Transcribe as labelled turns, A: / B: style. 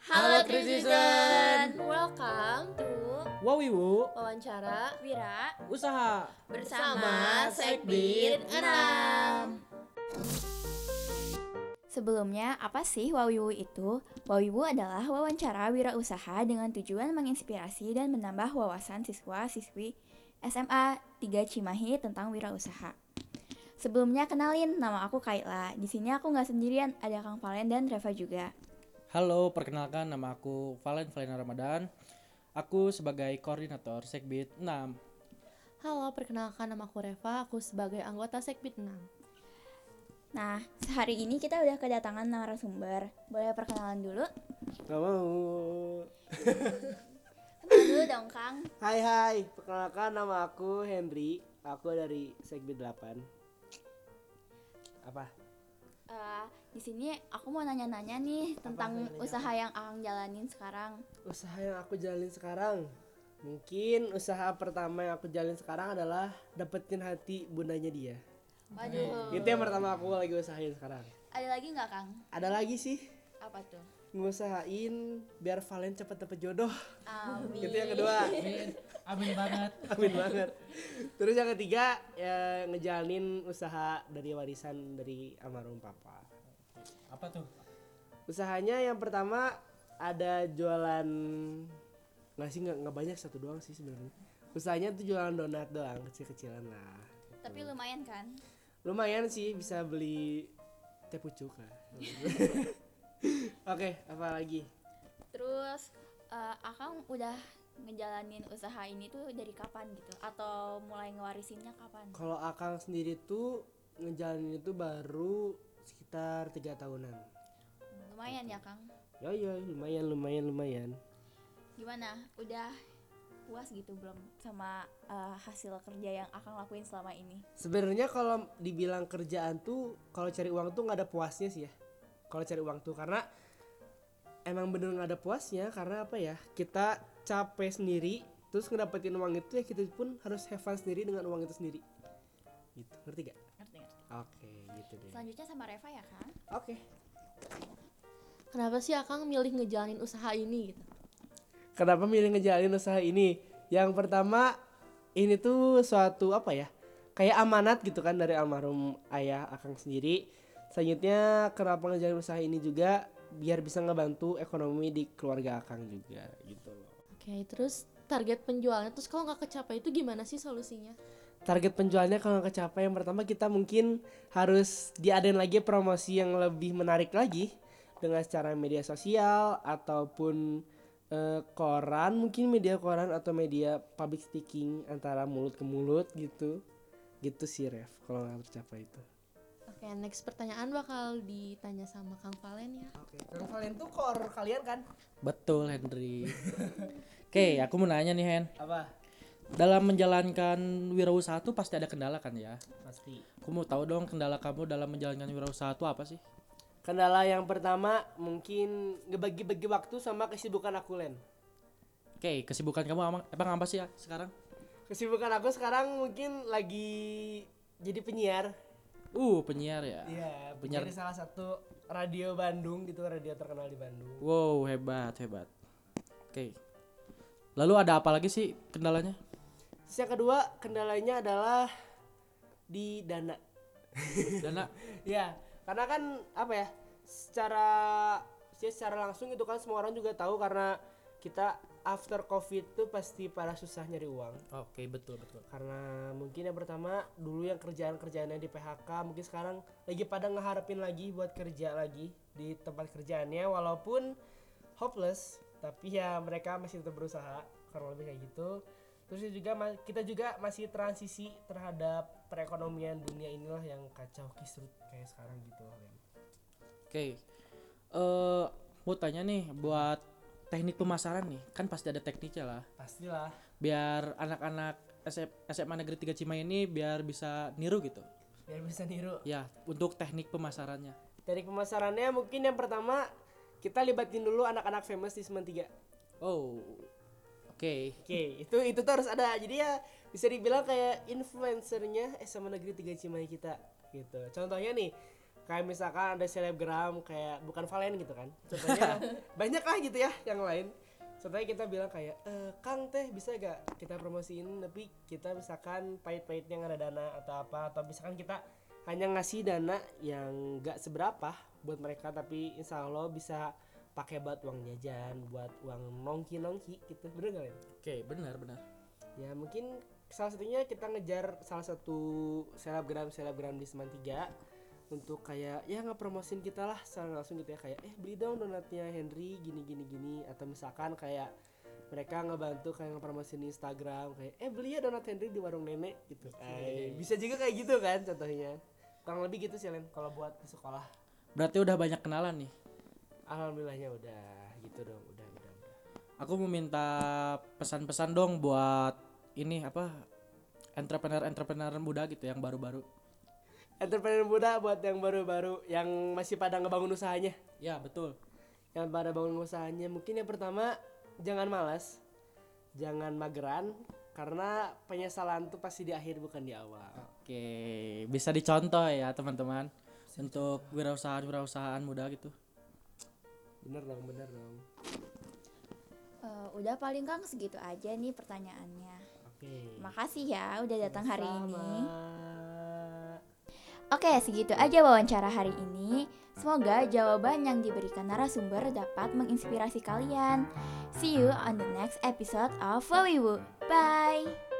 A: Halo True Season.
B: Welcome to
A: Wawiwu
B: wawancara
C: Wira
A: Usaha
B: bersama Sekbid 6.
C: Sebelumnya, apa sih Wawiwu itu? Wawiwu adalah wawancara wirausaha dengan tujuan menginspirasi dan menambah wawasan siswa-siswi SMA 3 Cimahi tentang wirausaha. Sebelumnya kenalin, nama aku Kaila. Di sini aku nggak sendirian, ada Kang Valen dan Reva juga.
A: Halo, perkenalkan nama aku Valen Valena Ramadan Aku sebagai koordinator Sekbid 6
B: Halo, perkenalkan nama aku Reva, aku sebagai anggota Sekbid 6.
C: Nah, sehari ini kita udah kedatangan narasumber. Boleh perkenalan dulu?
D: Gak mau.
C: Kenal dulu dong, Kang.
D: Hai hai, perkenalkan nama aku Henry. Aku dari Segmen 8. Apa?
C: Eh, di sini aku mau nanya-nanya nih tentang
D: nanya-nanya?
C: usaha yang Kang jalanin sekarang.
D: Usaha yang aku jalin sekarang. Mungkin usaha pertama yang aku jalin sekarang adalah dapetin hati bundanya dia.
C: Waduh.
D: Itu yang pertama aku lagi usahain sekarang.
C: Ada lagi nggak Kang?
D: Ada lagi sih
C: Apa tuh?
D: ngusahain biar Valen cepet dapet jodoh.
C: Amin.
D: Itu yang kedua.
A: Amin banget
D: Amin banget. Terus yang ketiga ya ngejalanin usaha dari warisan dari almarhum papa.
A: Apa tuh?
D: usahanya yang pertama ada jualan nggak sih nggak nggak banyak satu doang sih sebenarnya usahanya tuh jualan donat doang kecil-kecilan lah Gitu.
C: Tapi lumayan kan?
D: lumayan sih bisa beli teh pucuk lah oke apa lagi
C: Terus eh, Akang udah ngejalanin usaha ini tuh dari kapan gitu? Atau mulai ngewarisinnya kapan?
D: kalau akang sendiri tuh ngejalanin itu baru sekitar tiga tahunan
C: Lumayan ya Kang.
D: ya ya lumayan lumayan lumayan
C: Gimana? Udah puas gitu belum sama eh, hasil kerja yang Akang lakuin selama ini?
D: Sebenarnya kalau dibilang kerjaan tuh kalau cari uang tuh nggak ada puasnya sih ya. Kalau cari uang tuh karena emang bener nggak ada puasnya karena apa ya? Kita capek sendiri terus ngedapetin uang itu ya kita pun harus have fun sendiri dengan uang itu sendiri. Gitu, ngerti gak?
C: Ngerti ngerti.
D: Oke, gitu deh. Oke.
C: Selanjutnya sama Reva ya Kang?
B: Kenapa sih Akang milih ngejalanin usaha ini gitu?
D: Kenapa milih ngejalin usaha ini? Yang pertama ini tuh suatu apa ya? Kayak amanat gitu kan dari almarhum ayah Akang sendiri. Selanjutnya kenapa ngejalin usaha ini juga biar bisa ngebantu ekonomi di keluarga Akang juga gitu loh.
B: Oke, terus target penjualannya terus kalau nggak kecapai itu gimana sih solusinya?
D: Target penjualnya kalau nggak kecapai yang pertama kita mungkin harus diadain lagi promosi yang lebih menarik lagi dengan secara media sosial ataupun eh, koran mungkin media koran atau media public speaking antara mulut ke mulut gitu gitu sih Rev kalau nggak tercapai itu.
B: Oke, next pertanyaan bakal ditanya sama Kang Valen ya.
D: Oke, Kang Valen tuh kor kalian kan?
A: Betul, Henry Oke, aku mau nanya nih, Hen
D: Apa?
A: Dalam menjalankan wirausaha tuh pasti ada kendala kan ya?
D: Pasti.
A: Aku mau tahu dong kendala kamu dalam menjalankan wirausaha itu apa sih?
D: Kendala yang pertama mungkin ngebagi-bagi waktu sama kesibukan aku Len.
A: Oke, kesibukan kamu emang, emang apa sih ya sekarang?
D: Kesibukan aku sekarang mungkin lagi jadi penyiar
A: Uh, penyiar ya?
D: Iya,
A: penyiar-
D: penyiar di salah satu radio Bandung gitu, radio terkenal di Bandung.
A: Wow, hebat, hebat. Oke. Lalu ada apa lagi sih kendalanya?
D: Terus yang kedua, kendalanya adalah di dana.
A: Dana.
D: Iya, karena kan apa ya? Secara ya secara langsung itu kan semua orang juga tahu karena kita after covid tuh pasti pada susah nyari uang.
A: Oke, betul, betul.
D: Karena mungkin yang pertama dulu yang kerjaan-kerjaannya di PHK, mungkin sekarang lagi pada ngeharapin lagi buat kerja lagi di tempat kerjaannya walaupun hopeless, tapi ya mereka masih tetap berusaha kurang lebih kayak gitu. Terus juga ma- kita juga masih transisi terhadap perekonomian dunia inilah yang kacau kisrut kayak sekarang gitu loh. Lem.
A: Oke. Eh, mau tanya nih buat teknik pemasaran nih, kan pasti ada tekniknya lah.
D: Pastilah.
A: Biar anak-anak SM, SMA Negeri 3 Cimahi ini biar bisa niru gitu.
D: Biar bisa niru.
A: Ya, untuk teknik pemasarannya.
D: Dari pemasarannya mungkin yang pertama kita libatin dulu anak-anak famous di Semen 3.
A: Oh. Oke.
D: Oke, itu itu tuh harus ada. Jadi ya bisa dibilang kayak influencernya eh sama negeri tiga Cimahi kita gitu. Contohnya nih, kayak misalkan ada selebgram kayak bukan Valen gitu kan contohnya banyak lah gitu ya yang lain contohnya kita bilang kayak "Eh, Kang teh bisa gak kita promosiin tapi kita misalkan pahit-pahitnya nggak ada dana atau apa atau misalkan kita hanya ngasih dana yang gak seberapa buat mereka tapi insya Allah bisa pakai buat uang jajan buat uang nongki nongki gitu bener gak Len?
A: Oke, benar benar.
D: ya mungkin salah satunya kita ngejar salah satu selebgram selebgram di Seman 3 untuk kayak ya ngepromosin kita lah secara langsung gitu ya kayak eh beli dong donatnya Henry gini gini gini atau misalkan kayak mereka ngebantu kayak ngepromosin di Instagram kayak eh beli ya donat Henry di warung nenek gitu Eh, bisa juga kayak gitu kan contohnya kurang lebih gitu sih Len kalau buat di sekolah
A: Berarti udah banyak kenalan nih.
D: alhamdulillahnya udah gitu dong udah udah, udah.
A: Aku mau minta pesan-pesan dong buat ini apa entrepreneur-entrepreneur muda gitu yang baru-baru.
D: entrepreneur muda buat yang baru-baru yang masih pada ngebangun usahanya
A: Ya, betul.
D: yang pada bangun usahanya mungkin yang pertama jangan malas jangan mageran karena penyesalan tuh pasti di akhir bukan di awal
A: Oke, bisa dicontoh ya teman-teman untuk wirausahaan-wirausahaan muda gitu.
D: bener dong bener dong
C: Eh, udah paling Kang segitu aja nih pertanyaannya.
D: oke
C: Makasih ya udah datang hari ini.
D: Sama.
C: Oke, segitu aja wawancara hari ini. Semoga jawaban yang diberikan narasumber dapat menginspirasi kalian. See you on the next episode of Wawiwu. Bye.